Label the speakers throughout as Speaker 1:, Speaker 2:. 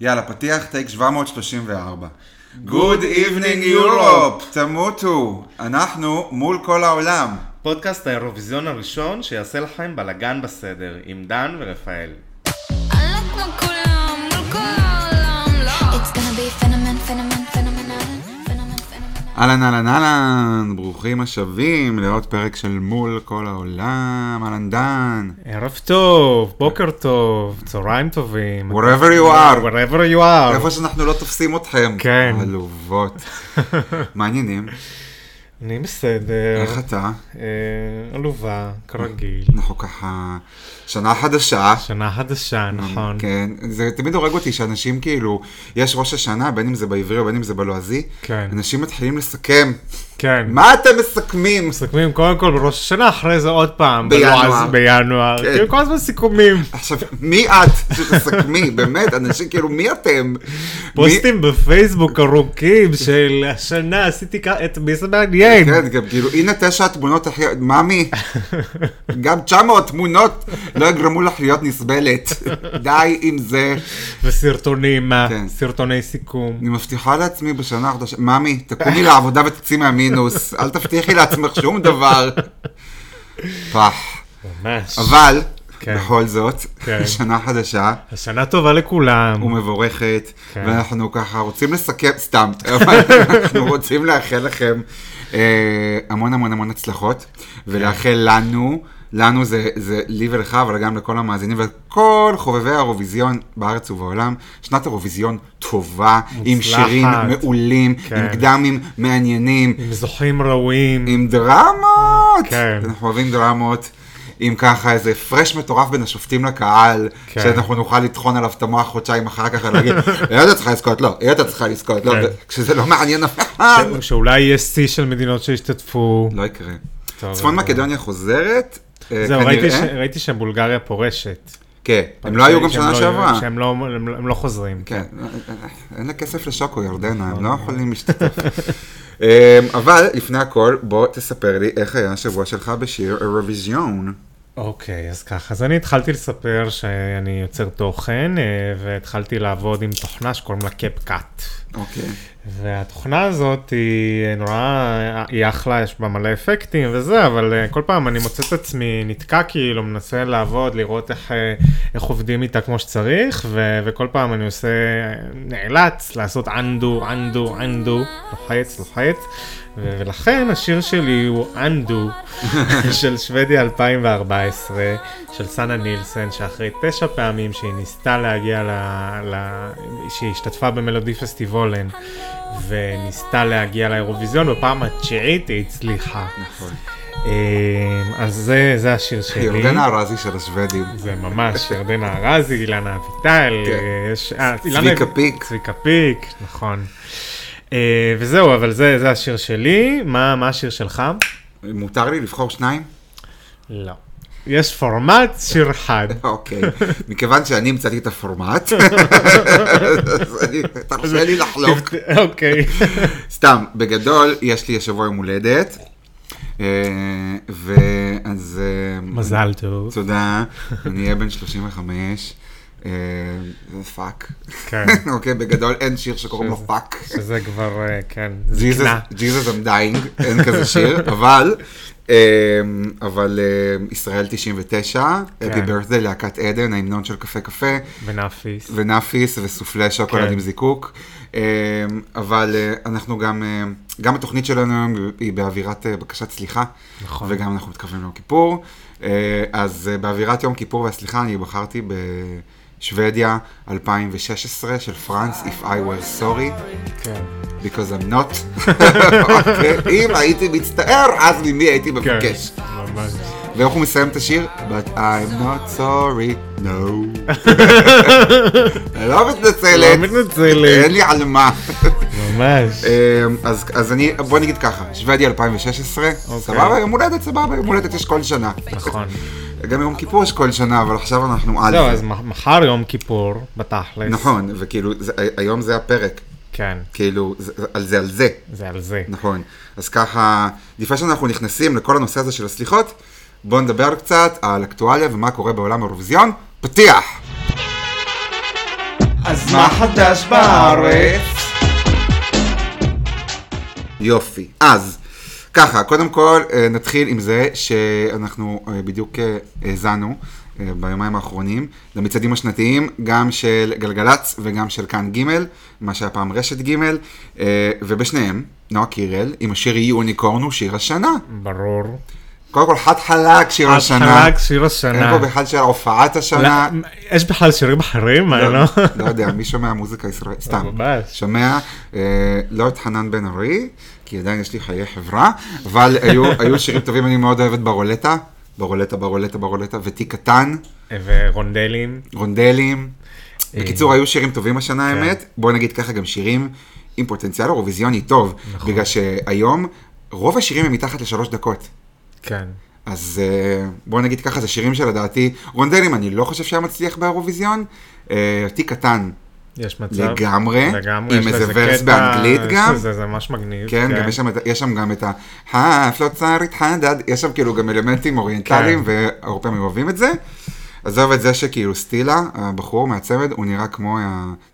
Speaker 1: יאללה, פתיח טייק 734. Good evening Europe, תמותו, אנחנו מול כל העולם.
Speaker 2: פודקאסט האירוויזיון הראשון שיעשה לכם בלאגן בסדר, עם דן ורפאל.
Speaker 3: It's gonna be phenomen, phenomen, phenomenal, phenomen, phenomenal.
Speaker 1: אהלן אהלן אהלן, ברוכים השבים לעוד פרק של מול כל העולם, אהלן דן.
Speaker 2: ערב טוב, בוקר טוב, צהריים טובים.
Speaker 1: Wherever you are,
Speaker 2: wherever you are.
Speaker 1: איפה שאנחנו לא תופסים אתכם.
Speaker 2: כן.
Speaker 1: עלובות. מעניינים,
Speaker 2: אני בסדר,
Speaker 1: איך Mm. אתה?
Speaker 2: אה, עלובה, כרגיל.
Speaker 1: אנחנו ככה, שנה חדשה.
Speaker 2: שנה חדשה, נכון.
Speaker 1: כן, זה תמיד הורג אותי שאנשים כאילו, יש ראש השנה, בין אם זה בעברי או בין אם זה בלועזי,
Speaker 2: כן.
Speaker 1: אנשים מתחילים לסכם.
Speaker 2: כן.
Speaker 1: מה אתם מסכמים?
Speaker 2: מסכמים קודם כל בראש השנה, אחרי זה עוד פעם.
Speaker 1: בינואר.
Speaker 2: בלועז, בינואר.
Speaker 1: כן.
Speaker 2: כאילו כל הזמן סיכומים.
Speaker 1: עכשיו, מי את שתסכמי? באמת, אנשים כאילו, מי אתם?
Speaker 2: פוסטים בפייסבוק ארוכים של השנה עשיתי כ- את מי זה
Speaker 1: מי-
Speaker 2: מעניין.
Speaker 1: כן, גם כאילו, הנה תשע התמונות הכי... ממי, גם 900 תמונות לא יגרמו לך להיות נסבלת. די עם זה.
Speaker 2: וסרטונים, מה?
Speaker 1: כן.
Speaker 2: סרטוני סיכום.
Speaker 1: אני מבטיחה לעצמי בשנה החדשה, ממי, תקומי לעבודה ותצאי מהמינוס, אל תבטיחי לעצמך שום דבר. פח.
Speaker 2: ממש.
Speaker 1: אבל,
Speaker 2: כן.
Speaker 1: בכל זאת,
Speaker 2: כן.
Speaker 1: שנה חדשה
Speaker 2: השנה טובה לכולם.
Speaker 1: ומבורכת,
Speaker 2: כן.
Speaker 1: ואנחנו ככה רוצים לסכם, סתם, אבל אנחנו רוצים לאחל לכם אה, המון המון המון הצלחות, ולאחל
Speaker 2: כן.
Speaker 1: לנו, לנו זה, זה לי ולך, אבל גם לכל המאזינים ולכל חובבי האירוויזיון בארץ ובעולם, שנת אירוויזיון טובה, עם
Speaker 2: מוצלחת.
Speaker 1: שירים מעולים, עם
Speaker 2: כן.
Speaker 1: קדמים מעניינים,
Speaker 2: עם זוכים ראויים.
Speaker 1: עם דרמות!
Speaker 2: כן.
Speaker 1: אנחנו אוהבים דרמות. עם ככה איזה הפרש מטורף בין השופטים לקהל,
Speaker 2: כן.
Speaker 1: שאנחנו נוכל לטחון עליו את המוח חודשיים אחר כך ולהגיד, היא הייתה צריכה לזכות, לא, היא הייתה צריכה לזכות, לא,
Speaker 2: כן.
Speaker 1: ו- כשזה לא מעניין אף אחד.
Speaker 2: ש- שאולי יהיה שיא של מדינות שהשתתפו.
Speaker 1: לא יקרה.
Speaker 2: טוב,
Speaker 1: צפון
Speaker 2: אבל-
Speaker 1: מקדוניה חוזרת, אה,
Speaker 2: זהו, ראיתי ש-
Speaker 1: כנראה.
Speaker 2: ראיתי שבולגריה פורשת.
Speaker 1: כן, הם לא היו גם
Speaker 2: שהם
Speaker 1: שנה
Speaker 2: לא-
Speaker 1: שעברה.
Speaker 2: שהם לא- הם לא- הם לא חוזרים.
Speaker 1: כן, אין לה כסף לשוקו, ירדנה, הם לא
Speaker 2: אוקיי.
Speaker 1: יכולים להשתתף. אה, אבל לפני הכל, בוא תספר לי איך היה השבוע שלך בשיר אירוויזיון.
Speaker 2: אוקיי, אז ככה, אז אני התחלתי לספר שאני יוצר תוכן, אה, והתחלתי לעבוד עם תוכנה שקוראים לה קאפ-קאט.
Speaker 1: אוקיי.
Speaker 2: והתוכנה הזאת היא אה, נורא, היא אחלה, יש בה מלא אפקטים וזה, אבל אה, כל פעם אני מוצא את עצמי נתקע כאילו, מנסה לעבוד, לראות איך, אה, איך עובדים איתה כמו שצריך, ו, וכל פעם אני עושה, אה, נאלץ לעשות undo, undo, undo, לוחץ, לוחץ, ו, ולכן השיר שלי הוא undo של שוודיה 2014, של סנה נילסן, שאחרי תשע פעמים שהיא ניסתה להגיע ל... ל... שהיא השתתפה במלודי פסטיבולן, וניסתה להגיע לאירוויזיון, בפעם התשיעית היא הצליחה.
Speaker 1: נכון.
Speaker 2: אמ, אז זה, זה השיר שלי.
Speaker 1: ירדנה ארזי אוקיי, של השוודים.
Speaker 2: זה ממש ירדנה ארזי, אילנה אביטל,
Speaker 1: כן.
Speaker 2: אה, יש- אה,
Speaker 1: צביקה
Speaker 2: אילנה-
Speaker 1: פיק.
Speaker 2: צביקה פיק, נכון. אה, וזהו, אבל זה, זה השיר שלי. מה, מה השיר שלך?
Speaker 1: מותר לי לבחור שניים?
Speaker 2: לא. יש פורמט שיר אחד.
Speaker 1: אוקיי. מכיוון שאני המצאתי את הפורמט, אז אני- תרשה לי לחלוק.
Speaker 2: תבט- אוקיי.
Speaker 1: סתם, בגדול, יש לי השבוע יום הולדת, אה, ואז... אה,
Speaker 2: מזל טוב.
Speaker 1: תודה, אני אהיה בן 35. אה, פאק.
Speaker 2: כן.
Speaker 1: אוקיי, בגדול אין שיר שקוראים לו פאק.
Speaker 2: שזה כבר, אה, כן, זקנה.
Speaker 1: ג'יזוס I'm dying, אין כזה שיר, אבל, אמ, אבל אמ, ישראל 99, אדי
Speaker 2: כן.
Speaker 1: ברסדה, להקת עדן, ההמנון של קפה קפה,
Speaker 2: ונאפיס.
Speaker 1: ונאפיס וסופלי שוקולד
Speaker 2: כן.
Speaker 1: עם זיקוק, אמ, אבל אה, אנחנו גם, אמ, גם התוכנית שלנו היום היא באווירת אה, בקשת סליחה,
Speaker 2: נכון.
Speaker 1: וגם אנחנו מתקרבים ליום כיפור, אה, אז אה, באווירת יום כיפור והסליחה אני בחרתי ב... שוודיה 2016 של פרנס, If I were sorry.
Speaker 2: כן.
Speaker 1: because I'm not. אוקיי, אם הייתי מצטער, אז ממי הייתי
Speaker 2: כן.
Speaker 1: מבקש.
Speaker 2: ממש.
Speaker 1: ואיך הוא מסיים את השיר? But I'm not sorry, no. אני לא מתנצלת.
Speaker 2: לא מתנצלת.
Speaker 1: אין לי על מה.
Speaker 2: ממש.
Speaker 1: אמ, אז אז אני, בוא נגיד ככה, שוודיה 2016,
Speaker 2: אוקיי.
Speaker 1: סבבה, יום הולדת, סבבה, יום הולדת יש כל שנה.
Speaker 2: נכון.
Speaker 1: גם יום כיפור יש כל שנה, אבל עכשיו אנחנו על
Speaker 2: זהו,
Speaker 1: זה.
Speaker 2: לא, אז מח- מחר יום כיפור, בתכלס.
Speaker 1: נכון, וכאילו, זה- היום זה הפרק,
Speaker 2: כן,
Speaker 1: כאילו, זה- על זה, על זה.
Speaker 2: זה על זה.
Speaker 1: נכון. אז ככה, לפני שאנחנו נכנסים לכל הנושא הזה של הסליחות, בואו נדבר קצת על אקטואליה ומה קורה בעולם האירוויזיון. פתיח!
Speaker 4: אז מה חדש בארץ?
Speaker 1: יופי. אז, ככה, קודם כל אה, נתחיל עם זה שאנחנו אה, בדיוק אה, האזנו אה, ביומיים האחרונים למצעדים השנתיים, גם של גלגלצ וגם של כאן ג', מה שהיה פעם רשת ג', אה, ובשניהם, נועה קירל עם השיר יוניקורן הוא שיר השנה.
Speaker 2: ברור.
Speaker 1: קודם כל חד חלק שיר השנה.
Speaker 2: חלק שיר
Speaker 1: אין
Speaker 2: השנה.
Speaker 1: פה בכלל של הופעת השנה.
Speaker 2: לא, יש בכלל שירים אחרים? אני לא...
Speaker 1: לא יודע, מי שומע מוזיקה ישראלית? סתם.
Speaker 2: ממש.
Speaker 1: שומע אה, לא את חנן בן ארי, כי עדיין יש לי חיי חברה, אבל היו היו שירים טובים, אני מאוד אוהבת ברולטה, ברולטה, ברולטה, ברולטה, ותיק קטן,
Speaker 2: ורונדלים.
Speaker 1: רונדלים. בקיצור, היו שירים טובים השנה,
Speaker 2: אה. כן.
Speaker 1: האמת. בוא נגיד ככה, גם שירים עם פוטנציאל אירוויזיוני טוב,
Speaker 2: נכון.
Speaker 1: בגלל שהיום רוב השירים הם מתחת לשלוש דקות.
Speaker 2: כן.
Speaker 1: אז אה, בוא נגיד ככה, זה שירים שלדעתי, רונדלים, אני לא חושב שהיה מצליח באירוויזיון. אה, תיק קטן,
Speaker 2: יש מצב.
Speaker 1: לגמרי,
Speaker 2: לגמרי.
Speaker 1: עם
Speaker 2: יש
Speaker 1: איזה
Speaker 2: לזה
Speaker 1: ורס
Speaker 2: קטע-
Speaker 1: באנגלית
Speaker 2: יש
Speaker 1: גם.
Speaker 2: לזה- זה ממש מגניב.
Speaker 1: כן, גם יש שם, את- יש שם גם את ה... הפלוצרית חנדד, יש שם כאילו גם אלמנטים אוריינטליים,
Speaker 2: כן.
Speaker 1: והרבה פעמים אוהבים את זה. עזוב את זה שכאילו סטילה, הבחור מהצמד, הוא נראה כמו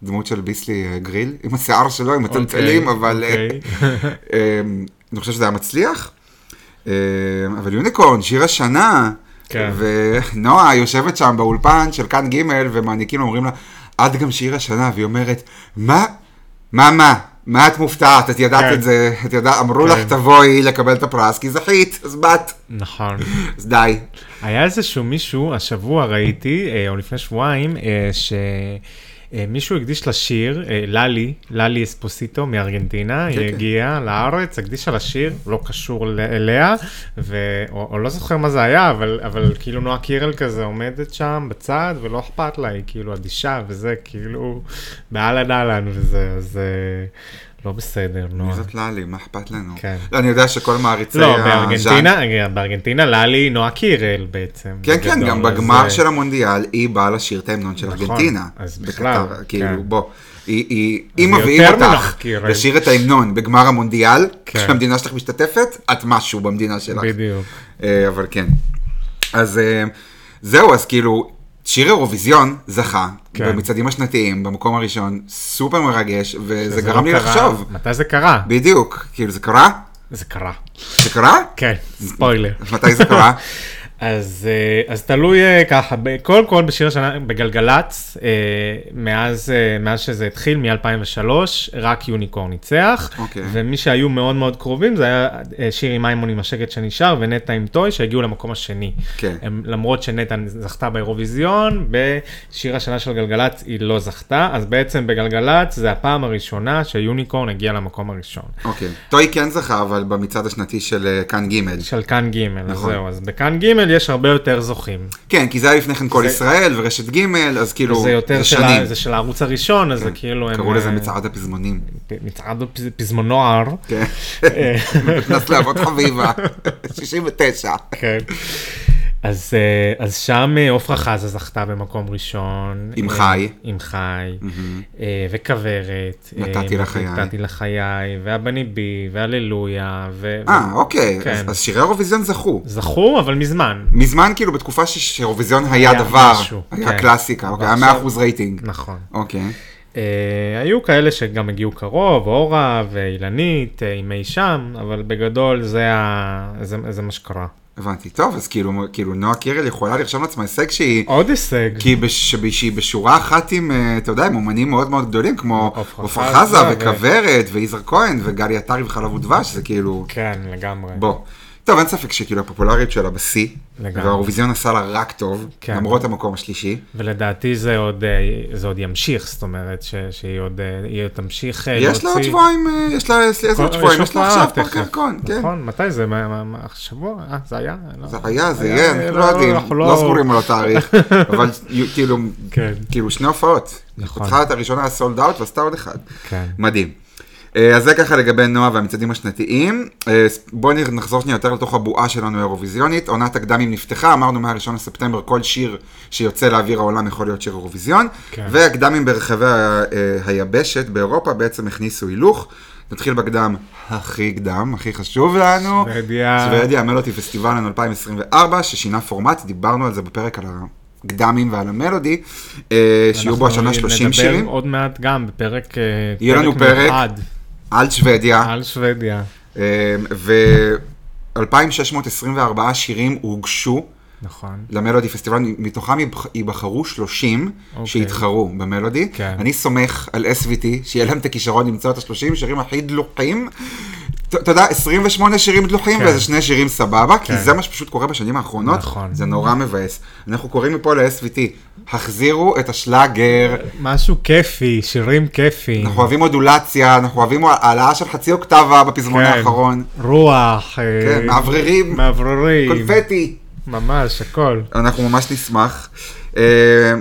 Speaker 1: הדמות של ביסלי אה, גריל, עם השיער שלו, עם
Speaker 2: אוקיי,
Speaker 1: הטלטלים, אבל... אה,
Speaker 2: אוקיי.
Speaker 1: אה, אני חושב שזה היה מצליח. אה, אבל יוניקורן, שיר השנה,
Speaker 2: כן.
Speaker 1: ונועה יושבת שם באולפן של כאן ג' ומעניקים לה, אומרים לה, את גם שיר השנה, והיא אומרת, מה? מה מה? מה את מופתעת? את ידעת
Speaker 2: כן.
Speaker 1: את זה, את יודעת, אמרו לך
Speaker 2: כן.
Speaker 1: תבואי לקבל את הפרס, כי זכית, אז באת,
Speaker 2: נכון.
Speaker 1: אז די.
Speaker 2: היה איזשהו מישהו, השבוע ראיתי, אה, או לפני שבועיים, אה, ש... אה, מישהו הקדיש לשיר, אה, ללי, ללי אספוסיטו מארגנטינה, היא
Speaker 1: כן.
Speaker 2: הגיעה לארץ, הקדישה לשיר, לא קשור ל- אליה, ו... או, או לא זוכר מה זה היה, אבל, אבל כאילו נועה קירל כזה עומדת שם בצד, ולא אכפת לה, היא כאילו אדישה, וזה כאילו באהלן אהלן וזה, אז אה, לא בסדר, נועה.
Speaker 1: מי זאת ללי, מה אכפת לנו?
Speaker 2: כן.
Speaker 1: לא, אני יודע שכל מעריצי
Speaker 2: לא,
Speaker 1: הז'אנר-
Speaker 2: בארגנטינה, בארגנטינה ללי נועה קירל בעצם.
Speaker 1: כן, כן,
Speaker 2: בגדול,
Speaker 1: גם
Speaker 2: אז,
Speaker 1: בגמר
Speaker 2: אה,
Speaker 1: של המונדיאל, היא באה לשיר את ההמנון של
Speaker 2: נכון,
Speaker 1: ארגנטינה.
Speaker 2: אז
Speaker 1: בקטר,
Speaker 2: בכלל,
Speaker 1: כאילו,
Speaker 2: כן.
Speaker 1: בוא. היא- היא- אם
Speaker 2: זה
Speaker 1: מביאים
Speaker 2: יותר
Speaker 1: אותך
Speaker 2: מונח, כאילו.
Speaker 1: לשיר את ההמנון בגמר המונדיאל,
Speaker 2: כן.
Speaker 1: כשהמדינה שלך משתתפת, את משהו במדינה שלך.
Speaker 2: בדיוק.
Speaker 1: אה, אבל כן. אז אה, זהו, אז כאילו, שיר אירוויזיון זכה
Speaker 2: כן.
Speaker 1: במצעדים השנתיים, במקום הראשון, סופר מרגש, וזה
Speaker 2: שזה
Speaker 1: גרם
Speaker 2: לא
Speaker 1: לי
Speaker 2: קרה.
Speaker 1: לחשוב.
Speaker 2: מתי זה קרה?
Speaker 1: בדיוק, כאילו, זה קרה?
Speaker 2: זה קרה.
Speaker 1: זה קרה?
Speaker 2: כן, ספוילר.
Speaker 1: מתי זה קרה?
Speaker 2: אז, אה, אז תלוי אה, ככה, ב- קודם כל בשיר השנה, בגלגלצ, אה, מאז, אה, מאז שזה התחיל, מ-2003, רק יוניקור ניצח.
Speaker 1: אוקיי.
Speaker 2: ומי שהיו מאוד מאוד קרובים, זה היה אה, שירי מימון עם השקט שנשאר, ונטע עם טוי, שהגיעו למקום השני.
Speaker 1: כן.
Speaker 2: הם, למרות שנטע זכתה באירוויזיון, בשיר השנה של גלגלצ היא לא זכתה, אז בעצם בגלגלצ זה הפעם הראשונה שיוניקורן הגיע למקום הראשון.
Speaker 1: אוקיי. טוי כן זכה, אבל במצעד השנתי של אה, כאן ג'
Speaker 2: של כאן ג', אז
Speaker 1: נכון.
Speaker 2: זהו, אז בכאן ג' יש הרבה יותר זוכים.
Speaker 1: כן, כי זה היה לפני כן כל ישראל ורשת ג', אז כאילו,
Speaker 2: זה יותר של,
Speaker 1: שנים. כן.
Speaker 2: ה, זה של הערוץ הראשון, אז זה כאילו הם...
Speaker 1: קראו לזה
Speaker 2: אה,
Speaker 1: מצעד הפזמונים.
Speaker 2: פ- מצעד הפז- פזמונוער.
Speaker 1: כן.
Speaker 2: אה,
Speaker 1: נכנס לעבוד חביבה, 69.
Speaker 2: כן. אז, אה, אז שם אה, עפרה חזה זכתה במקום ראשון.
Speaker 1: עם
Speaker 2: אה,
Speaker 1: חי.
Speaker 2: עם חי. אה, וכוורת. אה,
Speaker 1: נתתי לחיי.
Speaker 2: נתתי לחיי, והבני בי, והללויה. ו-
Speaker 1: אה,
Speaker 2: ו-
Speaker 1: אוקיי,
Speaker 2: כן.
Speaker 1: אז- אז שירי האירוויזיון זכו.
Speaker 2: זכו, אבל מזמן.
Speaker 1: מזמן, כאילו, בתקופה ש- שהאירוויזיון היה
Speaker 2: היה
Speaker 1: דבר,
Speaker 2: משהו,
Speaker 1: היה
Speaker 2: כן.
Speaker 1: קלאסיקה, אוקיי, היה
Speaker 2: ועכשיו-
Speaker 1: 100% רייטינג.
Speaker 2: נכון.
Speaker 1: אוקיי.
Speaker 2: אה, היו כאלה שגם הגיעו קרוב, אורה ואילנית, אה, עם אי שם, אבל בגדול זה, ה... זה, זה מה שקרה.
Speaker 1: הבנתי. טוב, אז כאילו, כאילו, נועה קירל יכולה לרשום לעצמה הישג שהיא...
Speaker 2: עוד הישג.
Speaker 1: כי בש- שהיא בשורה אחת עם, אה, אתה יודע, עם אומנים מאוד מאוד גדולים, כמו
Speaker 2: עפרה
Speaker 1: עפרה
Speaker 2: חזה
Speaker 1: חזה
Speaker 2: ו-
Speaker 1: וכוורת ויזהר כהן וגלי עטרי וחלב ודבש, זה כאילו...
Speaker 2: כן, לגמרי.
Speaker 1: בוא. טוב, אין ספק שכאילו הפופולריות שלה בשיא,
Speaker 2: לגמרי.
Speaker 1: והאירוויזיון עשה לה רק טוב,
Speaker 2: כן.
Speaker 1: למרות המקום השלישי.
Speaker 2: ולדעתי זה עוד, אה, זה עוד ימשיך, זאת אומרת, ש, שהיא עוד, אה, היא עוד תמשיך אה,
Speaker 1: יש לה עוד שבועיים, אה, יש לה איזה עוד
Speaker 2: כל-
Speaker 1: שבועיים, יש לה
Speaker 2: הופעה
Speaker 1: עכשיו
Speaker 2: תכף.
Speaker 1: פרקרקון, כן.
Speaker 2: נכון, מתי זה? מה- מה- מה, השבוע? אה, זה היה? לא.
Speaker 1: זה היה, זה יהיה, אנחנו לא יודעים,
Speaker 2: אנחנו
Speaker 1: לא סגורים על התאריך, אבל יו- כאילו,
Speaker 2: כן.
Speaker 1: כאילו שני הופעות.
Speaker 2: נכון.
Speaker 1: פתחה את הראשונה סולד אאוט ועשתה עוד אחד.
Speaker 2: כן.
Speaker 1: מדהים. אה, אז זה ככה לגבי נועה והמצעדים השנתיים. אה, ס- בואו נ- נחזור שנייה יותר לתוך הבועה שלנו האירוויזיונית. עונת הקדמים נפתחה, אמרנו מהראשון לספטמבר כל שיר שיוצא לאוויר העולם יכול להיות שיר אירוויזיון.
Speaker 2: כן.
Speaker 1: והקדמים ברחבי ה- אה, היבשת באירופה בעצם הכניסו הילוך. נתחיל בקדם הכי קדם, הכי חשוב לנו.
Speaker 2: שוודיה.
Speaker 1: שוודיה, המלוטי פסטיבלן 2024, ששינה פורמט, דיברנו על זה בפרק על הקדמים ועל המלודי, אה, שיהיו בו השנה
Speaker 2: אנחנו
Speaker 1: 30 שירים,
Speaker 2: נדבר עוד מעט גם בפרק אה,
Speaker 1: יהיה לנו פרק.
Speaker 2: מיוחד
Speaker 1: על שוודיה,
Speaker 2: על שוודיה.
Speaker 1: אמ, ו-2,624 שירים הוגשו
Speaker 2: נכון.
Speaker 1: למלודי פסטיבל, מתוכם יבח- ייבחרו 30
Speaker 2: אוקיי.
Speaker 1: שיתחרו במלודי.
Speaker 2: כן.
Speaker 1: אני סומך על SVT, שיהיה להם את הכישרון למצוא את ה-30 שירים הכי דלוחים. ת- אתה יודע, 28 שירים דלוחים
Speaker 2: כן.
Speaker 1: ואיזה שני שירים סבבה, כי
Speaker 2: כן.
Speaker 1: זה מה שפשוט קורה בשנים האחרונות,
Speaker 2: נכון.
Speaker 1: זה נורא מבאס. אנחנו קוראים מפה ל-SVT, החזירו את השלאגר,
Speaker 2: משהו כיפי, שירים כיפיים.
Speaker 1: אנחנו אוהבים מודולציה, אנחנו אוהבים העלאה של חצי אוקטבה בפזמון
Speaker 2: כן.
Speaker 1: האחרון.
Speaker 2: רוח. אה,
Speaker 1: כן, מאווררים,
Speaker 2: מאווררים.
Speaker 1: קונפטי.
Speaker 2: ממש, הכל.
Speaker 1: אנחנו ממש נשמח. Uh,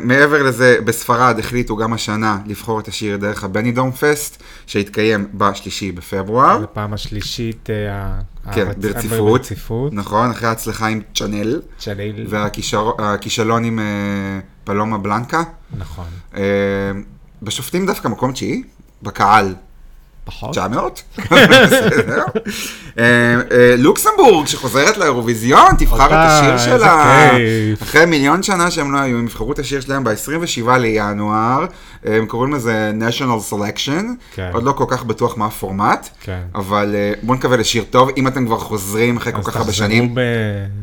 Speaker 1: מעבר לזה, בספרד החליטו גם השנה לבחור את השיר דרך הבני דום פסט, שהתקיים בשלישי בפברואר.
Speaker 2: זו הפעם השלישית אה, ה- הרצ-
Speaker 1: אה? כן, ברציפות.
Speaker 2: ברציפות.
Speaker 1: נכון, אחרי ההצלחה עם צ'אנל,
Speaker 2: צ'ליל,
Speaker 1: והכישלון עם אה, פלומה בלנקה.
Speaker 2: נכון.
Speaker 1: אה, בשופטים דווקא מקום תשיעי, בקהל
Speaker 2: פחות?
Speaker 1: 900. בסדר. אה, אה, לוקסמבורג שחוזרת לאירוויזיון, תבחר את
Speaker 2: אותה,
Speaker 1: השיר
Speaker 2: אוקיי, איזה
Speaker 1: שלה.
Speaker 2: אה, כיף.
Speaker 1: אחרי מיליון שנה שהם לא היו, הם יבחרו את השיר שלהם ב-27 לינואר. אה, הם קוראים לזה national selection.
Speaker 2: כן.
Speaker 1: עוד לא כל כך בטוח מה הפורמט.
Speaker 2: כן.
Speaker 1: אבל אה, בואו נקווה לשיר טוב, אם אתם כבר חוזרים אחרי כל
Speaker 2: אז
Speaker 1: כך הרבה
Speaker 2: תחזרו
Speaker 1: שנים.
Speaker 2: ב-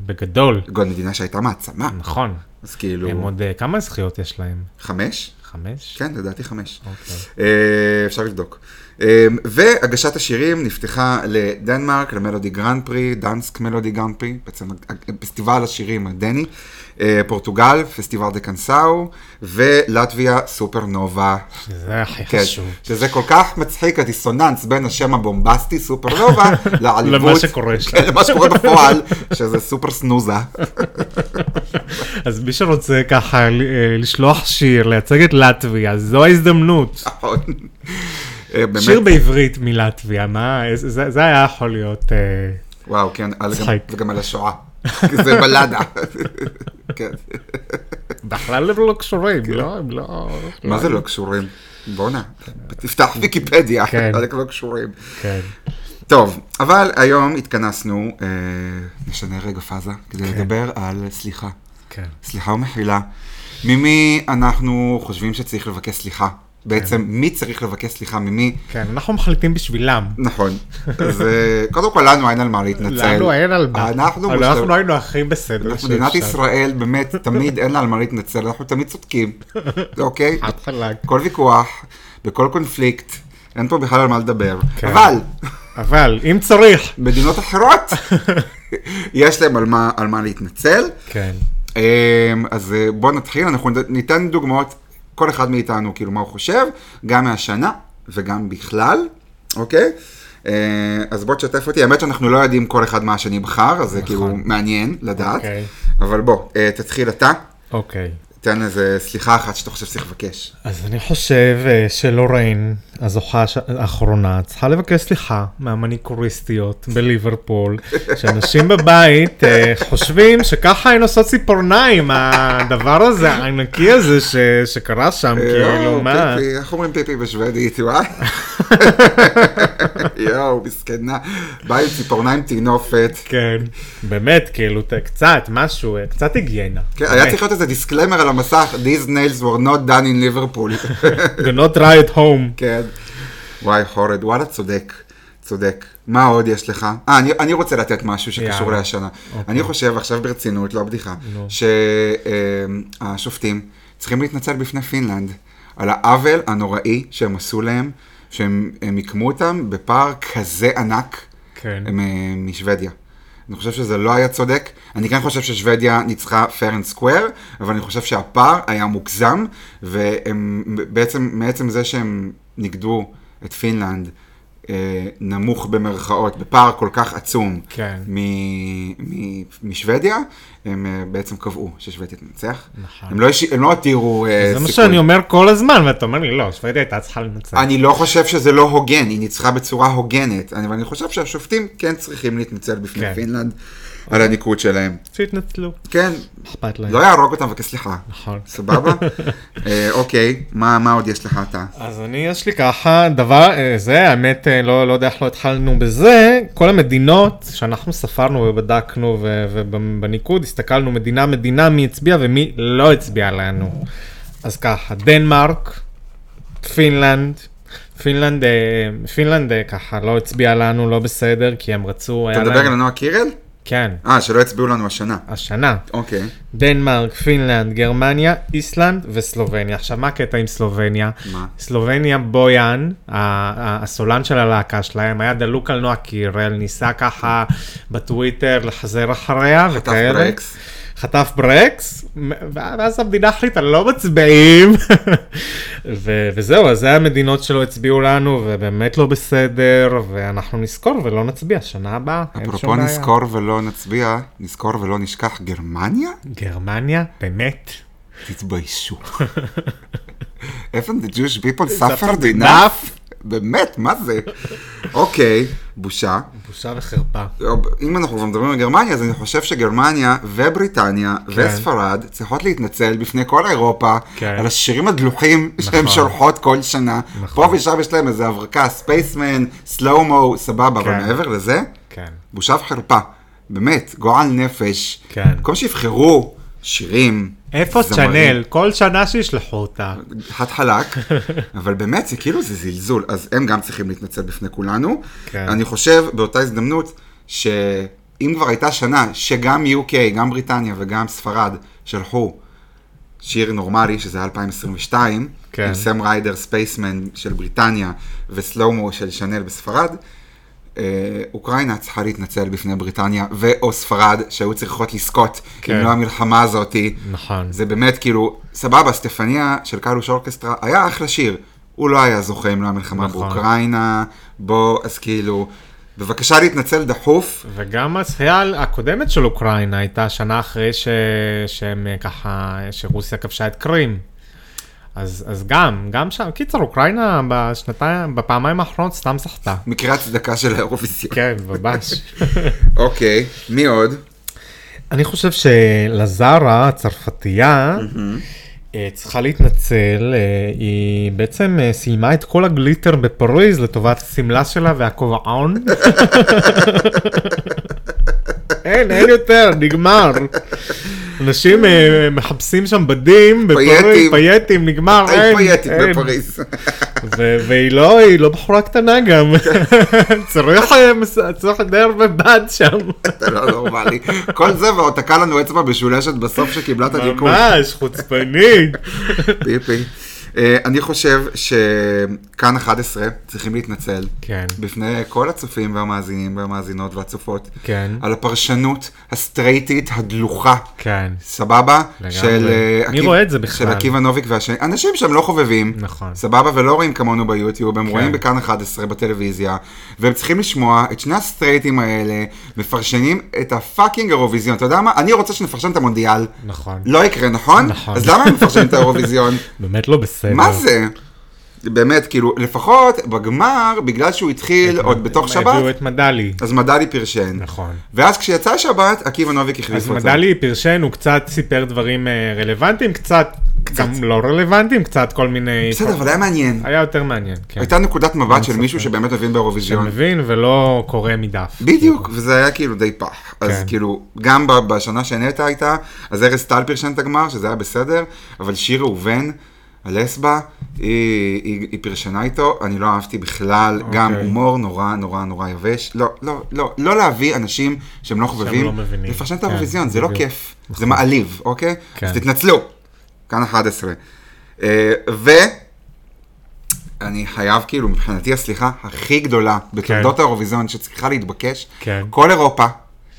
Speaker 2: בגדול.
Speaker 1: גון מדינה שהייתה מעצמה,
Speaker 2: נכון.
Speaker 1: אז כאילו,
Speaker 2: הם עוד אה, כמה זכיות יש להם?
Speaker 1: חמש?
Speaker 2: חמש?
Speaker 1: כן, לדעתי חמש.
Speaker 2: אוקיי.
Speaker 1: אה, אפשר לבדוק. אה, והגשת השירים נפתחה לדנמרק, למלודי גרנד פרי, דנסק מלודי גרנד פרי, בעצם פסטיבל השירים הדני, אה, פורטוגל, פסטיבל דה קנסאו, ולטביה סופרנובה.
Speaker 2: שזה הכי
Speaker 1: כן,
Speaker 2: חשוב.
Speaker 1: שזה כל כך מצחיק, הדיסוננס בין השם הבומבסטי סופרנובה, לעליבות.
Speaker 2: למה שקורה שם.
Speaker 1: כן, למה שקורה בפועל, שזה סופר סנוזה.
Speaker 2: אז מי שרוצה ככה אה, לשלוח שיר, לייצג את לטביה, זו ההזדמנות.
Speaker 1: נכון. אה, באמת,
Speaker 2: שיר בעברית מלטביה, מה? איזה- זה זה היה יכול להיות... אה,
Speaker 1: וואו, כן, על- גם-
Speaker 2: מצחיק.
Speaker 1: וגם על השואה. כי זה בלדה. כן.
Speaker 2: בכלל הם לא קשורים, לא? הם לא...
Speaker 1: מה זה לא קשורים? בואנה, תפתח ויקיפדיה,
Speaker 2: כן.
Speaker 1: חלק לא קשורים.
Speaker 2: כן.
Speaker 1: טוב, אבל היום התכנסנו, אה, נשנה רגע פאזה, כדי לדבר על סליחה.
Speaker 2: כן.
Speaker 1: סליחה ומחילה. ממי אנחנו חושבים שצריך לבקש סליחה? בעצם, מי צריך לבקש סליחה ממי?
Speaker 2: כן, אנחנו מחליטים בשבילם.
Speaker 1: נכון. אז אה, קודם כל, לנו אין על מה להתנצל.
Speaker 2: לנו אין על מה.
Speaker 1: אנחנו
Speaker 2: אבל
Speaker 1: מושת-
Speaker 2: אנחנו היינו הכי בסדר.
Speaker 1: אנחנו מדינת
Speaker 2: שאפשר.
Speaker 1: ישראל, באמת, תמיד אין לה על מה להתנצל, אנחנו תמיד צודקים, אוקיי?
Speaker 2: חד חלק.
Speaker 1: כל ויכוח, בכל קונפליקט, אין פה בכלל על מה לדבר.
Speaker 2: כן.
Speaker 1: אבל,
Speaker 2: אבל אם צריך.
Speaker 1: מדינות אחרות, יש להם על מה- על מה להתנצל.
Speaker 2: כן.
Speaker 1: אמ, אז אה, בואו נתחיל, אנחנו נ- ניתן דוגמאות, כל אחד מאיתנו, כאילו, מה הוא חושב, גם מהשנה וגם בכלל, אוקיי? אה, אז בוא תשתף אותי, האמת שאנחנו לא יודעים כל אחד מה השני בחר, אז זה כאילו מעניין לדעת,
Speaker 2: נכון. אוקיי.
Speaker 1: אבל בוא, אה, תתחיל אתה,
Speaker 2: אוקיי.
Speaker 1: תן איזה סליחה אחת שאתה חושב שצריך לבקש.
Speaker 2: אז אני חושב אה, שלוריין, הזוכה הש- האחרונה, צריכה לבקש סליחה מהמניקוריסטיות בליברפול, שאנשים בבית אה, חושבים שככה הן עושות ציפורניים, הדבר הזה, הענקי הזה ש- שקרה שם,
Speaker 1: אה,
Speaker 2: כאילו,
Speaker 1: יואו,
Speaker 2: מה?
Speaker 1: פיפי, איך אומרים פיפי בשוודית, וואי? יואו, מסכנה. באה עם ציפורניים טינופת.
Speaker 2: כן, באמת, כאילו, ת- קצת, משהו, אה, קצת היגיינה.
Speaker 1: כן, היה
Speaker 2: באמת.
Speaker 1: צריך להיות איזה דיסקלמר על המסך, these nails were not done in Liverpool.
Speaker 2: Do not try at home.
Speaker 1: כן. וואי, חורד, וואלה, צודק. צודק. מה עוד יש לך? אה, אני, אני רוצה לתת משהו שקשור
Speaker 2: יאללה.
Speaker 1: להשנה.
Speaker 2: אוקיי.
Speaker 1: אני חושב, עכשיו ברצינות, לא בדיחה, שהשופטים צריכים להתנצל בפני פינלנד על העוול הנוראי שהם עשו להם, שהם הם מיקמו אותם בפער כזה ענק
Speaker 2: כן.
Speaker 1: הם, אה, משוודיה. אני חושב שזה לא היה צודק, אני כן חושב ששוודיה ניצחה fair and square, אבל אני חושב שהפער היה מוגזם, והם בעצם, מעצם זה שהם נגדו את פינלנד אה, נמוך במרכאות, בפער כל כך עצום
Speaker 2: כן.
Speaker 1: מ- מ- משוודיה, הם אה, בעצם קבעו ששוודיה תנצח.
Speaker 2: נכון.
Speaker 1: הם לא, הש- הם לא הותירו אה, סיכוי.
Speaker 2: זה מה שאני אומר כל הזמן, ואתה אומר לי, לא, שוודיה הייתה צריכה לנצח.
Speaker 1: אני לא חושב שזה לא הוגן, היא ניצחה בצורה הוגנת, אני- אבל אני חושב שהשופטים כן צריכים להתנצל בפני
Speaker 2: כן.
Speaker 1: פינלנד על הניקוד שלהם.
Speaker 2: שהתנצלו,
Speaker 1: כן,
Speaker 2: אכפת להם.
Speaker 1: לא יהרוג אותם אבל סליחה.
Speaker 2: נכון.
Speaker 1: סבבה? אה, אוקיי, מה מה עוד יש לך אתה?
Speaker 2: אז אני, יש לי ככה דבר, אה, זה, האמת, אה, לא, לא יודע איך לא התחלנו בזה, כל המדינות שאנחנו ספרנו ובדקנו ו- ובניקוד, הסתכלנו מדינה מדינה מי הצביע ומי לא הצביע לנו. אז ככה, דנמרק, פינלנד, פינלנד, אה, פינלנד אה, ככה לא הצביע לנו, לא בסדר, כי הם רצו,
Speaker 1: אתה
Speaker 2: היה
Speaker 1: מדבר
Speaker 2: להם,
Speaker 1: על נועה קירל?
Speaker 2: כן,
Speaker 1: אה, שלא הצביעו לנו השנה.
Speaker 2: השנה.
Speaker 1: אוקיי.
Speaker 2: דנמרק, פינלנד, גרמניה, איסלנד וסלובניה. עכשיו, מה הקטע עם סלובניה?
Speaker 1: מה?
Speaker 2: סלובניה בויאן, ה- ה- הסולן של הלהקה שלהם, היה דלוק על נועה קירל, ניסה ככה בטוויטר לחזר אחריה
Speaker 1: חטף
Speaker 2: וכאלה.
Speaker 1: ברקס.
Speaker 2: חטף ברקס, ואז המדינה החליטה לא מצביעים. ו- וזהו, אז זה המדינות שלא הצביעו לנו, ובאמת לא בסדר, ואנחנו נזכור ולא נצביע שנה הבאה. אין שום
Speaker 1: אפרופו
Speaker 2: בעיה.
Speaker 1: נזכור ולא נצביע, נזכור ולא נשכח, גרמניה?
Speaker 2: גרמניה? באמת?
Speaker 1: תתביישו. Haven't the Jewish people suffered enough? באמת, מה זה? אוקיי, בושה.
Speaker 2: בושה וחרפה.
Speaker 1: אם אנחנו כבר מדברים על גרמניה, אז אני חושב שגרמניה ובריטניה וספרד צריכות להתנצל בפני כל אירופה
Speaker 2: כן.
Speaker 1: על השירים הדלוחים שהן
Speaker 2: נכון.
Speaker 1: שולחות כל שנה.
Speaker 2: נכון.
Speaker 1: פה ושם יש להם איזה הברקה, ספייסמן, סלומו, סבבה, אבל
Speaker 2: כן.
Speaker 1: מעבר לזה,
Speaker 2: כן.
Speaker 1: בושה וחרפה. באמת, גועל נפש.
Speaker 2: כן.
Speaker 1: במקום שיבחרו שירים.
Speaker 2: איפה
Speaker 1: זמרים,
Speaker 2: צ'אנל? כל שנה שישלחו אותה.
Speaker 1: חת חלק, אבל באמת, זה כאילו, זה זלזול. אז הם גם צריכים להתנצל בפני כולנו.
Speaker 2: כן.
Speaker 1: אני חושב, באותה הזדמנות, שאם כבר הייתה שנה שגם UK, גם בריטניה וגם ספרד שלחו שיר נורמלי, שזה היה 2022,
Speaker 2: כן.
Speaker 1: עם סם ריידר, ספייסמן של בריטניה וסלומו של שנל בספרד, אה, אוקראינה צריכה להתנצל בפני בריטניה ו/או ספרד, שהיו צריכות לזכות,
Speaker 2: כן.
Speaker 1: אם לא המלחמה הזאתי.
Speaker 2: נכון.
Speaker 1: זה באמת כאילו, סבבה, סטפניה של קלוש אורקסטרה, היה אחלה שיר. הוא לא היה זוכה אם לא המלחמה
Speaker 2: נכון.
Speaker 1: באוקראינה, בוא, אז כאילו, בבקשה להתנצל דחוף.
Speaker 2: וגם הזכייה הקודמת של אוקראינה הייתה שנה אחרי ש... שהם אה, ככה, שרוסיה כבשה את קרים. אז, אז גם, גם שם, קיצר, אוקראינה בשנתיים, בפעמיים האחרונות סתם סחטה.
Speaker 1: מקרה הצדקה של האירוויזיון.
Speaker 2: כן, ממש.
Speaker 1: אוקיי, מי עוד?
Speaker 2: אני חושב שלזרה, הצרפתייה,
Speaker 1: Mm-hmm.
Speaker 2: אה, צריכה להתנצל, אה, היא בעצם אה, סיימה את כל הגליטר בפריז לטובת השמלה שלה והכובעון. אין, אין יותר, נגמר. אנשים אה, מחפשים שם בדים בפריז,
Speaker 1: פייטים.
Speaker 2: פייטים, נגמר, אין,
Speaker 1: היי פייטית
Speaker 2: אין.
Speaker 1: בפריז.
Speaker 2: ו- והיא לא, היא לא בחורה קטנה גם.
Speaker 1: כן.
Speaker 2: צריך אה, מס- צריך די הרבה בד שם.
Speaker 1: אתה לא נורמלי. כל זה ועוד תקע לנו אצבע משולשת בסוף שקיבלה את הניקוד.
Speaker 2: ממש, חוצפנית.
Speaker 1: פיפי. אה, אני חושב שכאן 11 צריכים להתנצל.
Speaker 2: כן.
Speaker 1: בפני כל הצופים והמאזינים והמאזינות והצופות.
Speaker 2: כן.
Speaker 1: על הפרשנות הסטרייטית הדלוחה.
Speaker 2: כן.
Speaker 1: סבבה?
Speaker 2: לגמרי.
Speaker 1: של אה,
Speaker 2: מי
Speaker 1: עקיב-
Speaker 2: רואה את זה בכלל?
Speaker 1: של עקיבא נוביק והשני. אנשים שהם לא חובבים.
Speaker 2: נכון.
Speaker 1: סבבה? ולא רואים כמונו ביוטיוב, הם
Speaker 2: כן.
Speaker 1: רואים בכאן 11 בטלוויזיה, והם צריכים לשמוע את שני הסטרייטים האלה מפרשנים את הפאקינג אירוויזיון. אתה יודע מה? אני רוצה שנפרשן את המונדיאל.
Speaker 2: נכון.
Speaker 1: לא יקרה, נכון?
Speaker 2: נכון.
Speaker 1: אז למה הם מפרשנים את האירוויזיון?
Speaker 2: באמת לא בסדר.
Speaker 1: מה זה? באמת, כאילו, לפחות בגמר, בגלל שהוא התחיל עוד בתוך שבת,
Speaker 2: הביאו את מדלי.
Speaker 1: אז מדלי פרשן.
Speaker 2: נכון.
Speaker 1: ואז כשיצא שבת, עקיבא נוביק החליף
Speaker 2: אז
Speaker 1: אותו.
Speaker 2: מדלי פרשן, הוא קצת סיפר דברים אה, רלוונטיים, קצת, גם לא רלוונטיים, קצת כל מיני...
Speaker 1: בסדר, אבל היה מעניין.
Speaker 2: היה יותר מעניין, כן.
Speaker 1: הייתה נקודת מבט של מישהו שבאמת מבין באירוויזיון.
Speaker 2: שמבין ולא קורא מדף.
Speaker 1: בדיוק, וזה היה כאילו די פח. אז
Speaker 2: כן.
Speaker 1: כאילו, גם ב- בשנה שנטע הייתה, אז ארז טל פרשן את הגמר, שזה היה בסדר, אבל שיר ראובן, הלסבה, היא, היא, היא פרשנה איתו, אני לא אהבתי בכלל, גם
Speaker 2: אוקיי.
Speaker 1: הומור נורא נורא נורא יבש. לא, לא, לא, לא להביא אנשים שהם לא חובבים,
Speaker 2: לא מבינים.
Speaker 1: לפרשן את
Speaker 2: כן,
Speaker 1: האירוויזיון, זה לא
Speaker 2: בדיוק. נכון.
Speaker 1: כיף, זה מעליב, אוקיי?
Speaker 2: כן.
Speaker 1: אז תתנצלו, כאן 11. אה, ו... אני חייב, כאילו, מבחינתי הסליחה הכי גדולה בתולדות האירוויזיון שצריכה להתבקש,
Speaker 2: כן.
Speaker 1: כל אירופה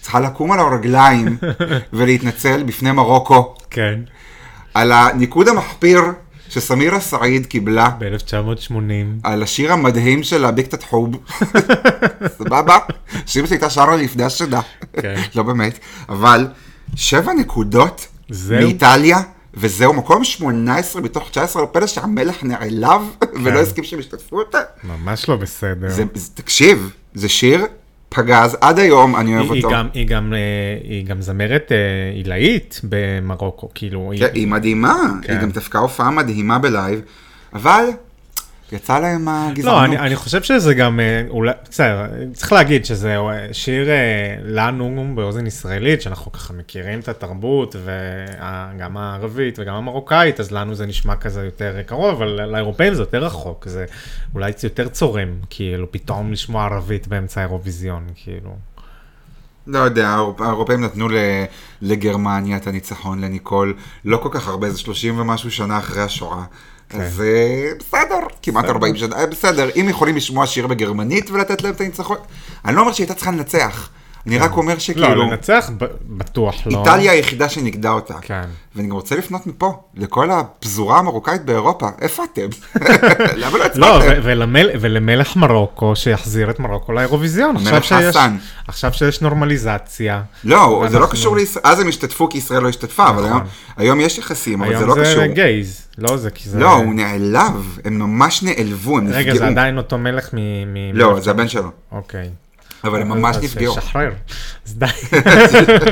Speaker 1: צריכה לקום על הרגליים ולהתנצל בפני מרוקו
Speaker 2: כן.
Speaker 1: על הניקוד המחפיר שסמירה סעיד קיבלה
Speaker 2: ב-1980.
Speaker 1: על השיר המדהים שלה, ביקטת חוב, סבבה? שאימא שלי הייתה שרה לפני השנה,
Speaker 2: כן.
Speaker 1: לא באמת, אבל שבע נקודות
Speaker 2: זהו?
Speaker 1: מאיטליה. וזהו מקום 18 מתוך 19, לא פלא שהמלך
Speaker 2: כן.
Speaker 1: נעלב ולא הסכים שהם ישתתפו אותה.
Speaker 2: ממש לא בסדר.
Speaker 1: זה, זה, תקשיב, זה שיר פגז, עד היום אני אוהב
Speaker 2: היא, היא,
Speaker 1: אותו.
Speaker 2: גם, היא, גם, אה, היא גם זמרת אה, עילאית במרוקו, כאילו, היא,
Speaker 1: כן, היא מדהימה, היא
Speaker 2: כן.
Speaker 1: גם דפקה הופעה מדהימה בלייב, אבל יצא להם
Speaker 2: לא,
Speaker 1: הגזענות.
Speaker 2: אני, אני חושב שזה גם, אה, אולי, בסדר, צריך להגיד שזה אה, שיר אה, לנו באוזן ישראלית, שאנחנו ככה מכירים את התרבות, וגם הערבית וגם המרוקאית, אז לנו זה נשמע כזה יותר קרוב, אבל לאירופאים זה יותר רחוק, זה אולי זה יותר צורם, כאילו, פתאום לשמוע ערבית באמצע האירוויזיון, כאילו.
Speaker 1: לא יודע, האירופ- האירופאים נתנו ל- לגרמניה את הניצחון לניקול, לא כל כך הרבה, זה 30 ומשהו שנה אחרי השואה.
Speaker 2: כן.
Speaker 1: אז אה, בסדר, כמעט 40 שנה, אה, בסדר, אם יכולים לשמוע שיר בגרמנית ולתת להם את הניצחון, אני לא אומר שהיא הייתה צריכה לנצח, אני רק אומר
Speaker 2: לא,
Speaker 1: שכאילו,
Speaker 2: לנצח ב- בטוח לא.
Speaker 1: כאילו- איטליה היחידה שנגדה אותה.
Speaker 2: כן.
Speaker 1: ואני גם רוצה לפנות מפה, לכל הפזורה המרוקאית באירופה, איפה אתם? למה לא הצבעתם?
Speaker 2: לא, ו- ולמל- ולמלך מרוקו, שיחזיר את מרוקו לאירוויזיון.
Speaker 1: המלך
Speaker 2: עכשיו שיש-
Speaker 1: חסן.
Speaker 2: עכשיו שיש נורמליזציה.
Speaker 1: לא, זה לא
Speaker 2: אנחנו- נכון.
Speaker 1: קשור לישראל, אז הם השתתפו כי ישראל לא השתתפה, אבל היום- היום יש יחסים, אבל זה
Speaker 2: היום
Speaker 1: לא
Speaker 2: זה
Speaker 1: קשור.
Speaker 2: גייז, לא זה כי זה...
Speaker 1: לא, הוא נעלב, הם ממש נעלבו, הם נפגעו.
Speaker 2: רגע, זה עדיין אותו מלך מ... מ-
Speaker 1: לא, זה הבן שלו,
Speaker 2: אוקיי.
Speaker 1: אבל הם ממש
Speaker 2: אז-
Speaker 1: נפגעו.
Speaker 2: אז אה, שחרר. אז די.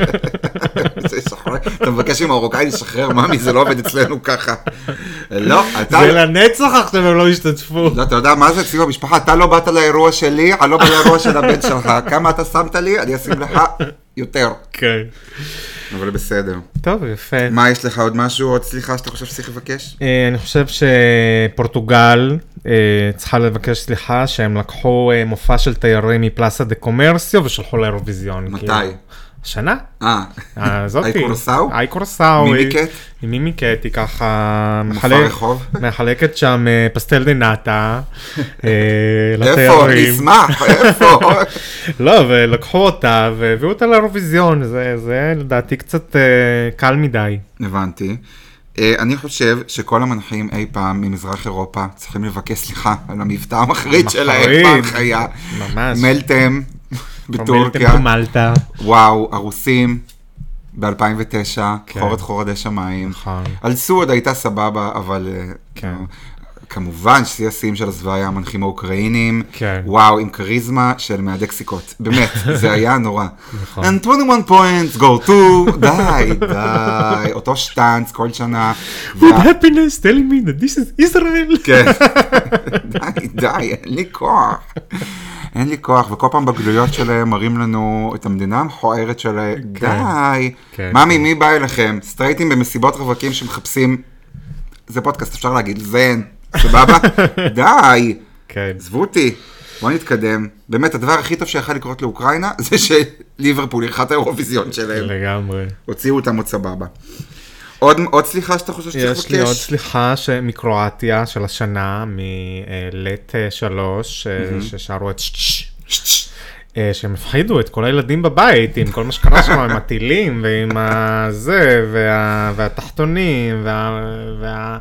Speaker 1: זה שחרר. אתה מבקש ממרוקאי לשחרר, ממי, זה לא עובד אצלנו ככה. לא, אתה...
Speaker 2: זה לנצח עכשיו הם לא השתתפו.
Speaker 1: לא, אתה יודע מה זה אצלי במשפחה? אתה לא באת לאירוע שלי, אני לא בא לאירוע של הבן שלך. כמה אתה שמת לי, אני אשים לך יותר.
Speaker 2: אוקיי.
Speaker 1: אבל בסדר.
Speaker 2: טוב, יפה.
Speaker 1: מה, יש לך עוד משהו, עוד סליחה שאתה חושב שצריך לבקש?
Speaker 2: אה, אני חושב שפורטוגל אה, צריכה לבקש סליחה שהם לקחו אה, מופע של תיירים מפלאסה דה קומרסיו ושלחו לאירוויזיון.
Speaker 1: מתי?
Speaker 2: כאילו. השנה?
Speaker 1: אה,
Speaker 2: אה, זאתי.
Speaker 1: איי קורסאו?
Speaker 2: איי קורסאו.
Speaker 1: מימי קט?
Speaker 2: היא מימי קט, היא ככה
Speaker 1: מופע
Speaker 2: מחלק-
Speaker 1: רחוב?
Speaker 2: מחלקת שם אה, פסטל דה נאטה אה,
Speaker 1: איפה?
Speaker 2: לתיירים.
Speaker 1: נשמח, איפה?
Speaker 2: לא, ולקחו אותה והביאו אותה לאירוויזיון, זה- זה לדעתי קצת אה, קל מדי.
Speaker 1: הבנתי. אה, אני חושב שכל המנחים אי פעם ממזרח אירופה צריכים לבקש סליחה על המבטא המחריד שלהם
Speaker 2: מחריד.
Speaker 1: בהנחיה.
Speaker 2: ממש.
Speaker 1: מלטם בטורקיה,
Speaker 2: מלטם מלטה.
Speaker 1: וואו, הרוסים ב-2009,
Speaker 2: כן.
Speaker 1: חורת חורדי שמיים.
Speaker 2: נכון.
Speaker 1: על סוד הייתה סבבה, אבל... אה,
Speaker 2: כן.
Speaker 1: כמובן ששיא השיאים של הזוועה היה המנחים האוקראינים,
Speaker 2: כן.
Speaker 1: וואו, עם כריזמה של מהדק סיכות, באמת, זה היה נורא.
Speaker 2: נכון.
Speaker 1: And 21 points go to, די, די, אותו שטאנץ כל שנה. וה-
Speaker 2: With happiness telling me that this is Israel.
Speaker 1: כן. די, די, אין לי כוח. אין לי כוח, וכל פעם בגלויות שלהם מראים לנו את המדינה המכוערת שלהם.
Speaker 2: כן.
Speaker 1: די.
Speaker 2: כן,
Speaker 1: ממי,
Speaker 2: כן.
Speaker 1: מי בא אליכם? סטרייטים במסיבות רווקים שמחפשים... זה פודקאסט, אפשר להגיד, זן, סבבה? די.
Speaker 2: כן.
Speaker 1: עזבו אותי. בוא נתקדם. באמת, הדבר הכי טוב שיכול לקרות לאוקראינה זה שליברפול אירחה את האירוויזיון
Speaker 2: כן.
Speaker 1: שלהם.
Speaker 2: לגמרי.
Speaker 1: הוציאו אותם עוד סבבה. עוד עוד סליחה שאתה חושב שצריך לבקש?
Speaker 2: יש לי עוד סליחה ש- מקרואטיה של השנה, מלט שלוש, אה, ששרו את שש. אה, שהם הפחידו את כל הילדים בבית עם כל מה שקרה שם, עם הטילים ועם הזה, וה, והתחתונים, וה,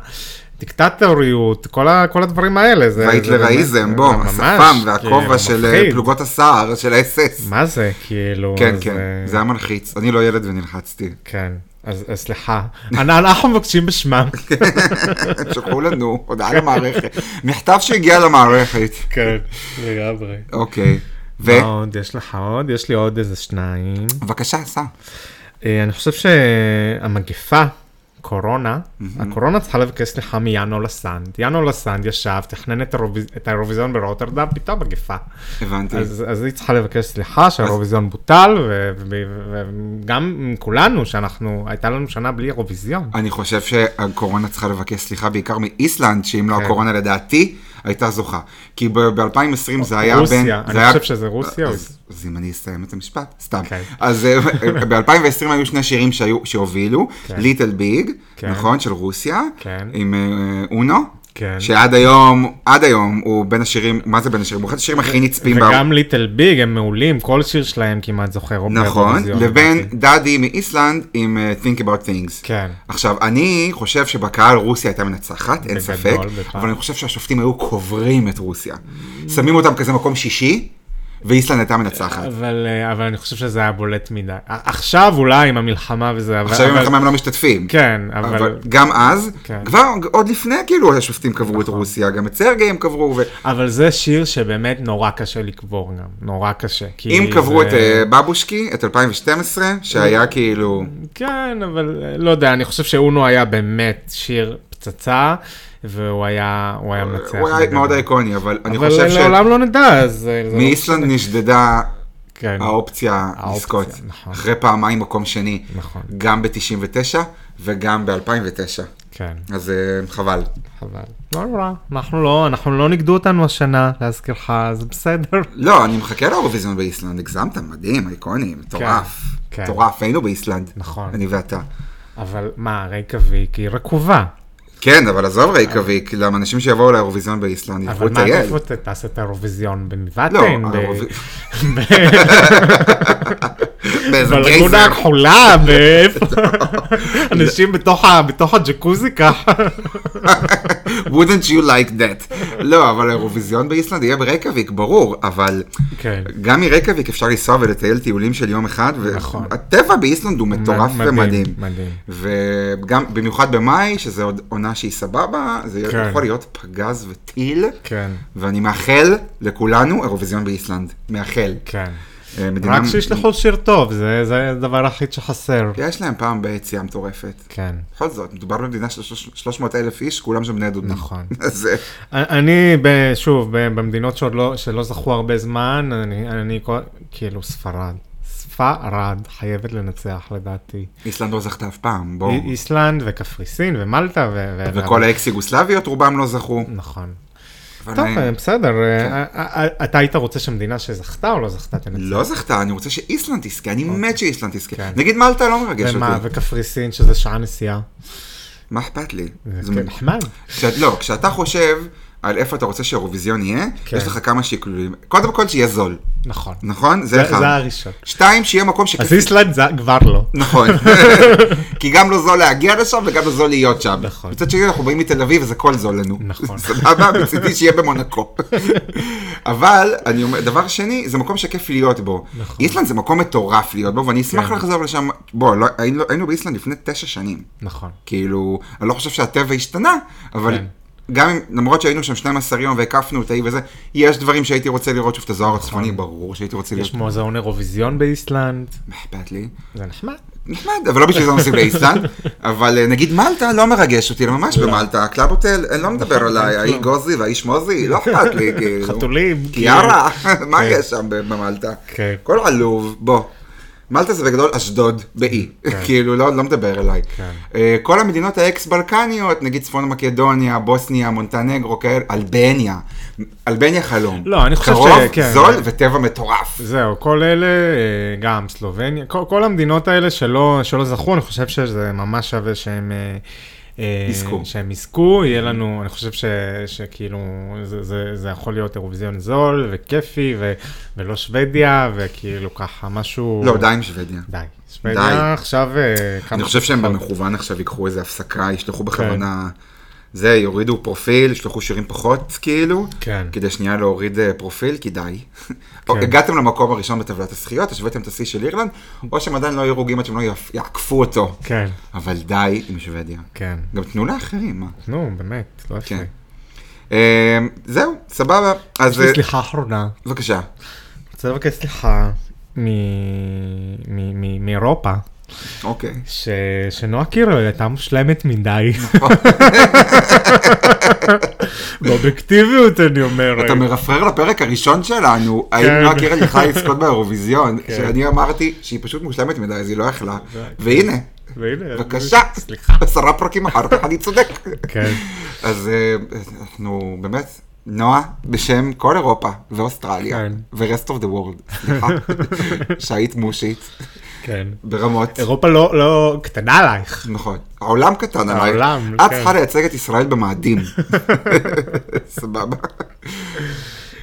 Speaker 2: והדיקטטוריות, כל, ה, כל הדברים האלה. זה- זה באמת-
Speaker 1: וההיטלראיזם,
Speaker 2: זה
Speaker 1: בוא,
Speaker 2: ממש,
Speaker 1: השפם
Speaker 2: כאילו,
Speaker 1: והכובע של אה,
Speaker 2: מפחיד.
Speaker 1: פלוגות הסער, של האס-אס.
Speaker 2: מה זה, כאילו?
Speaker 1: כן,
Speaker 2: אז,
Speaker 1: כן,
Speaker 2: אה,
Speaker 1: זה היה מלחיץ. אני לא ילד ונלחצתי.
Speaker 2: כן, אז אז סליחה. אנ- אנחנו מבקשים בשמם.
Speaker 1: הם שלחו לנו הודעה למערכת. מכתב שהגיע למערכת.
Speaker 2: כן, לגמרי.
Speaker 1: אוקיי. ו...
Speaker 2: מה עוד יש לך עוד? יש לי עוד איזה שניים.
Speaker 1: בבקשה, סע.
Speaker 2: אה, אני חושב שהמגפה, קורונה, הקורונה צריכה לבקש סליחה מיאנו לסנד. יאנו לסנד ישב, תכנן את האירוויז- את האירוויזיון ברוטרדם, פתאום מגפה.
Speaker 1: הבנתי.
Speaker 2: אז אז היא צריכה לבקש סליחה שהאירוויזיון בוטל, וגם כולנו, שאנחנו, הייתה לנו שנה בלי אירוויזיון.
Speaker 1: אני חושב שהקורונה צריכה לבקש סליחה בעיקר מאיסלנד, שאם לא
Speaker 2: כן.
Speaker 1: הקורונה לדעתי, הייתה זוכה. כי ב-2020 זה היה בין...
Speaker 2: רוסיה,
Speaker 1: זה
Speaker 2: אני
Speaker 1: היה-
Speaker 2: חושב שזה רוסיה. או-
Speaker 1: אז, אז אם אני אסיים את המשפט, סתם.
Speaker 2: אוקיי.
Speaker 1: אז אה, ב-2020 היו שני שירים שהיו, שהובילו,
Speaker 2: כן.
Speaker 1: ליטל ביג,
Speaker 2: כן.
Speaker 1: נכון? של רוסיה,
Speaker 2: כן.
Speaker 1: עם אה, אונו,
Speaker 2: כן.
Speaker 1: שעד היום, עד היום הוא בין השירים, מה זה בין השירים? הוא אחד השירים הכי נצפים
Speaker 2: וגם ליטל ביג הם מעולים, כל שיר שלהם כמעט זוכר. או
Speaker 1: נכון,
Speaker 2: באירוויזיון,
Speaker 1: לבין
Speaker 2: לדעתי.
Speaker 1: דאדי מאיסלנד עם אה, Think About Things.
Speaker 2: כן.
Speaker 1: עכשיו, אני חושב שבקהל רוסיה הייתה מנצחת, אין
Speaker 2: בגדול,
Speaker 1: ספק,
Speaker 2: בפעם.
Speaker 1: אבל אני חושב שהשופטים היו קוברים את רוסיה. שמים אותם כזה מקום שישי, ואיסלנד הייתה מנצחת.
Speaker 2: אבל, אה, אבל אני חושב שזה היה בולט מדי. ע- עכשיו אולי עם המלחמה וזה, אבל...
Speaker 1: עכשיו עם
Speaker 2: אבל-
Speaker 1: המלחמה הם לא משתתפים.
Speaker 2: כן,
Speaker 1: אבל
Speaker 2: אבל...
Speaker 1: גם אז,
Speaker 2: כן. נכון.
Speaker 1: כבר עוד לפני כאילו השופטים קברו את רוסיה, גם את סרגי הם קברו, ואם
Speaker 2: אבל זה שיר שבאמת נורא קשה לקבור גם, נורא קשה. כי
Speaker 1: קברו
Speaker 2: זה-
Speaker 1: את אה, בבושקי, את 2012, שהיה כאילו,
Speaker 2: כן, אבל אה, לא יודע, אני חושב שאונו היה באמת שיר פצצה, והוא היה, הוא היה מצליח.
Speaker 1: הוא היה מאוד איקוני, אבל אני
Speaker 2: אבל
Speaker 1: חושב
Speaker 2: לעולם לא נדע, אז... אה, זה לא-
Speaker 1: שמאיסלנד נשדדה
Speaker 2: כן.
Speaker 1: האופציה
Speaker 2: האופציה,
Speaker 1: לזכות,
Speaker 2: נכון.
Speaker 1: אחרי פעמיים מקום שני,
Speaker 2: נכון.
Speaker 1: גם ב-99 וגם ב-2009,
Speaker 2: כן,
Speaker 1: אז אה, חבל.
Speaker 2: חבל. לא נורא, אנחנו לא, אנחנו לא נגדו אותנו השנה, להזכירך, אז בסדר.
Speaker 1: לא, אני מחכה לאירוויזיון באיסלנד, הגזמתם, מדהים, איקוני, מטורף.
Speaker 2: כן.
Speaker 1: מטורף, היינו באיסלנד.
Speaker 2: נכון.
Speaker 1: אני ואתה.
Speaker 2: אבל מה, רייקאביק היא רקובה.
Speaker 1: כן, אבל עזוב רייקאביק, למה אנשים שיבואו לאירוויזיון באיסלנד ילכו
Speaker 2: אבל מה,
Speaker 1: לטייל.
Speaker 2: איפה אתה תעשה את האירוויזיון?
Speaker 1: לא,
Speaker 2: בנבטן? ב-
Speaker 1: האירוויז-
Speaker 2: ב-
Speaker 1: באיזה
Speaker 2: בלגונה
Speaker 1: גייזר.
Speaker 2: הכחולה, באיפה? אנשים בתוך ה- בתוך הג'קוזי ככה.
Speaker 1: wouldn't you like that. לא, אבל האירוויזיון באיסלנד יהיה ברקביק, ברור, אבל
Speaker 2: כן.
Speaker 1: גם מרקביק אפשר לנסוע ולטייל טיולים של יום אחד,
Speaker 2: נכון.
Speaker 1: והטבע באיסלנד הוא מטורף
Speaker 2: מדהים,
Speaker 1: ומדהים.
Speaker 2: מדהים.
Speaker 1: וגם, במיוחד במאי, שזה עוד עונה שהיא סבבה, זה
Speaker 2: כן.
Speaker 1: יכול להיות פגז וטיל,
Speaker 2: כן.
Speaker 1: ואני מאחל לכולנו אירוויזיון באיסלנד. מאחל.
Speaker 2: כן.
Speaker 1: אה, מדינה-
Speaker 2: רק שישלחו שיר טוב, זה זה הדבר היחיד שחסר.
Speaker 1: יש להם פעם ביציאה מטורפת.
Speaker 2: כן.
Speaker 1: בכל זאת, מדובר במדינה של 300 אלף איש, כולם שם בני דודים. אה,
Speaker 2: נכון.
Speaker 1: זה...
Speaker 2: אני, ב- שוב, ב- במדינות שעוד לא, שלא זכו הרבה זמן, אני, אני כל- כאילו ספרד. ספרד חייבת לנצח לדעתי.
Speaker 1: איסלנד לא זכתה אף פעם, בואו.
Speaker 2: אי- איסלנד וקפריסין ומלטה ו... ו-
Speaker 1: וכל האקס-יוגוסלביות רובם לא זכו.
Speaker 2: נכון.
Speaker 1: אבל,
Speaker 2: טוב,
Speaker 1: אה,
Speaker 2: בסדר. אה, אה, אה, אתה היית רוצה שמדינה שזכתה או לא זכתה תנצח?
Speaker 1: לא זכתה, אני רוצה שאיסלנד תזכה, אני מת שאיסלנד תזכה.
Speaker 2: כן.
Speaker 1: נגיד מלטה לא מרגש
Speaker 2: ומה,
Speaker 1: אותי.
Speaker 2: וקפריסין, שזה שעה נסיעה.
Speaker 1: מה אכפת לי? זה
Speaker 2: זה כן.
Speaker 1: מ-
Speaker 2: נחמד.
Speaker 1: כשאת- לא, כשאתה חושב על איפה אתה רוצה שהאירוויזיון יהיה,
Speaker 2: כן.
Speaker 1: יש לך כמה שיקולים. קודם כל שיהיה זול,
Speaker 2: נכון.
Speaker 1: נכון? זה
Speaker 2: זה זה
Speaker 1: אחד.
Speaker 2: הראשון.
Speaker 1: שתיים, שיהיה מקום שכיף
Speaker 2: אז איסלנד זה כבר לא.
Speaker 1: נכון. כי גם לא זול להגיע לשם וגם לא זול להיות שם.
Speaker 2: נכון.
Speaker 1: מצד שני אנחנו באים מתל אביב אז הכל זול לנו.
Speaker 2: נכון.
Speaker 1: סבבה, מצידי שיהיה במונקו. אבל, אני אומר, דבר שני, זה מקום שכיף להיות בו.
Speaker 2: נכון.
Speaker 1: איסלנד זה מקום מטורף להיות בו, ואני אשמח
Speaker 2: כן.
Speaker 1: לחזור לשם. בוא, לא- היינו- היינו באיסלנד לפני תשע שנים.
Speaker 2: נכון.
Speaker 1: כאילו, אני לא חושב שהטבע השתנה, אבל...
Speaker 2: כן.
Speaker 1: גם אם, למרות שהיינו שם 12 יום והקפנו את האי וזה, יש דברים שהייתי רוצה לראות שוב את הזוהר הצפוני, ברור שהייתי רוצה לראות,
Speaker 2: נכון. יש מוזיאון אירוויזיון באיסלנד.
Speaker 1: מה אכפת לי?
Speaker 2: זה נחמד.
Speaker 1: נחמד, אבל לא בשביל זה נוסעים לאיסלנד, אבל אה, נגיד מלטה לא מרגש אותי, לא ממש במלטה, הקלאב הוטל, אני לא מדבר עליי, האי גוזי והאיש מוזי, לא אכפת לי, כאילו.
Speaker 2: חתולים.
Speaker 1: קיארה, מה
Speaker 2: כן.
Speaker 1: יש שם במלטה?
Speaker 2: כן.
Speaker 1: הכל עלוב, בוא. מלטה זה בגדול אשדוד, באי,
Speaker 2: כן.
Speaker 1: כאילו לא לא מדבר אליי. אה, כל המדינות האקס-בלקניות, נגיד צפון מקדוניה, בוסניה, מונטנגרו, כאלה, אלבניה. אלבניה חלום.
Speaker 2: לא, אני חושב ש-
Speaker 1: קרוב,
Speaker 2: כן.
Speaker 1: זול וטבע מטורף.
Speaker 2: זהו, כל אלה, אה, גם סלובניה, כל, כל המדינות האלה שלא, שלא זכו, אני חושב שזה ממש שווה שהם... אה, אה,
Speaker 1: יזכו. Mm-hmm.
Speaker 2: שהם יזכו, יהיה לנו, אני חושב ש, שכאילו, זה, זה, זה יכול להיות אירוויזיון זול וכיפי ו, ולא שוודיה, וכאילו ככה משהו...
Speaker 1: לא, די עם שוודיה.
Speaker 2: די.
Speaker 1: די.
Speaker 2: שוודיה עכשיו... אה, כמה
Speaker 1: אני חושב שהם
Speaker 2: פחות. כן.
Speaker 1: במכוון עכשיו ייקחו איזה הפסקה, ישלחו בכוונה, זה, יורידו פרופיל, ישלחו שירים פחות, כאילו,
Speaker 2: כן.
Speaker 1: כדי שנייה להוריד אה, פרופיל, כי די. או,
Speaker 2: כן.
Speaker 1: הגעתם למקום הראשון בטבלת הזכיות, השוויתם את השיא של אירלנד, או שהם עדיין לא יהיו רוגים עד שהם לא יעפ- יעקפו אותו.
Speaker 2: כן,
Speaker 1: אבל די עם שוודיה.
Speaker 2: כן.
Speaker 1: גם תנו לאחרים, מה.
Speaker 2: נו, באמת, לא יפה.
Speaker 1: כן. אה, זהו, סבבה. אז
Speaker 2: יש לי
Speaker 1: אה,
Speaker 2: אוקיי, סליחה אחרונה.
Speaker 1: בבקשה.
Speaker 2: רוצה לבקש סליחה מ- מ- מ- מאירופה,
Speaker 1: אוקיי.
Speaker 2: ש... שנועה קירל הייתה מושלמת מדי. באובייקטיביות אני אומר.
Speaker 1: אתה מרפרר לפרק הראשון שלנו, האם
Speaker 2: כן.
Speaker 1: נועה קירל יכלה לזכות באירוויזיון,
Speaker 2: כן.
Speaker 1: שאני אמרתי שהיא פשוט מושלמת מדי, אז היא לא יכלה, והנה,
Speaker 2: והנה,
Speaker 1: בבקשה,
Speaker 2: כן, סליחה.
Speaker 1: עשרה פרקים אחר כך אני צודק.
Speaker 2: כן.
Speaker 1: אז אה, אנחנו באמת, נועה, בשם כל אירופה ואוסטרליה,
Speaker 2: כן.
Speaker 1: ו-rest of the world, סליחה, שהיית מושית,
Speaker 2: כן.
Speaker 1: ברמות.
Speaker 2: אירופה לא, לא קטנה עלייך.
Speaker 1: נכון, העולם קטן עליי,
Speaker 2: העולם,
Speaker 1: את
Speaker 2: כן.
Speaker 1: צריכה לייצג את ישראל במאדים, סבבה.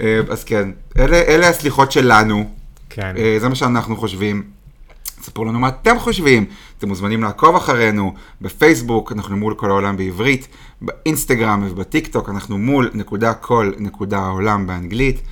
Speaker 1: אה, אז כן, אלה אלה הסליחות שלנו,
Speaker 2: כן.
Speaker 1: אה, זה מה שאנחנו חושבים. ספרו לנו מה אתם חושבים, אתם מוזמנים לעקוב אחרינו בפייסבוק, אנחנו מול כל העולם בעברית, באינסטגרם ובטיק טוק, אנחנו מול נקודה כל נקודה העולם באנגלית.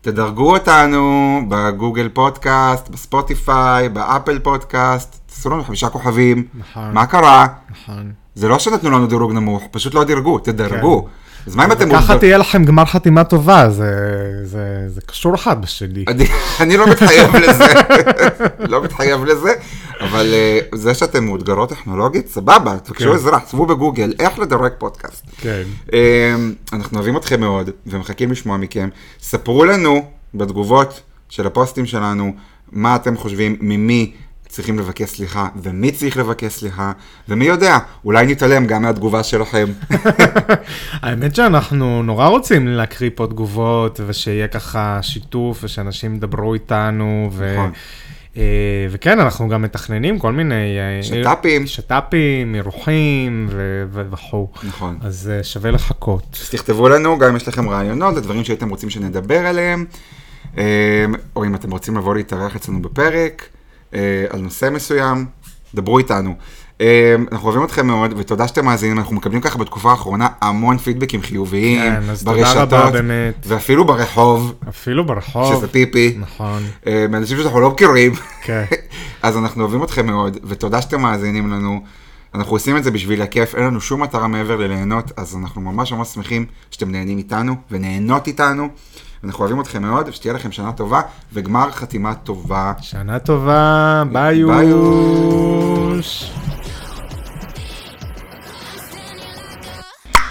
Speaker 1: תדרגו אותנו בגוגל פודקאסט, בספוטיפיי, באפל פודקאסט, תעשו לנו חמישה כוכבים.
Speaker 2: נכון.
Speaker 1: מה קרה?
Speaker 2: נכון.
Speaker 1: זה לא שנתנו לנו דירוג נמוך, פשוט לא דירגו, תדרגו. אז מה אם אתם...
Speaker 2: כן. ככה תהיה לכם גמר חתימה טובה, זה, זה, זה קשור אחד בשני.
Speaker 1: אני- אני לא מתחייב לזה, לא מתחייב לזה, אבל אה, זה שאתם מאותגרות טכנולוגית, סבבה, תבקשו
Speaker 2: כן.
Speaker 1: עזרה, עצבו בגוגל, איך לדרג פודקאסט.
Speaker 2: כן.
Speaker 1: אה, אנחנו אוהבים אתכם מאוד, ומחכים לשמוע מכם. ספרו לנו בתגובות של הפוסטים שלנו, מה אתם חושבים, ממי צריכים לבקש סליחה, ומי צריך לבקש סליחה, ומי יודע, אולי נתעלם גם מהתגובה שלכם.
Speaker 2: האמת שאנחנו נורא רוצים להקריא פה תגובות, ושיהיה ככה שיתוף, ושאנשים ידברו איתנו, ו...
Speaker 1: נכון.
Speaker 2: אה, וכן, אנחנו גם מתכננים כל מיני... אה,
Speaker 1: שת"פים.
Speaker 2: שת"פים, אירוחים ו- ו- וכו'.
Speaker 1: נכון.
Speaker 2: אז אה, שווה לחכות.
Speaker 1: אז תכתבו לנו, גם אם יש לכם רעיונות, לדברים שהייתם רוצים שנדבר עליהם, אמ, או אם אתם רוצים לבוא להתארח אצלנו בפרק, אה, על נושא מסוים, דברו איתנו. אמ, אנחנו אוהבים אתכם מאוד, ותודה שאתם מאזינים, אנחנו מקבלים ככה בתקופה האחרונה המון פידבקים חיוביים,
Speaker 2: כן, אז תודה
Speaker 1: ברשתות,
Speaker 2: רבה, באמת.
Speaker 1: ואפילו ברחוב,
Speaker 2: אפילו ברחוב.
Speaker 1: שזה פיפי,
Speaker 2: נכון.
Speaker 1: אה, מאנשים שאנחנו לא מכירים.
Speaker 2: כן.
Speaker 1: אז אנחנו אוהבים אתכם מאוד, ותודה שאתם מאזינים לנו. אנחנו עושים את זה בשביל הכיף, אין לנו שום מטרה מעבר לליהנות, אז אנחנו ממש ממש שמחים שאתם נהנים איתנו ונהנות איתנו. אנחנו אוהבים אתכם מאוד, ושתהיה לכם שנה טובה וגמר חתימה טובה.
Speaker 2: שנה טובה, ביי
Speaker 1: ביי.
Speaker 2: יוש.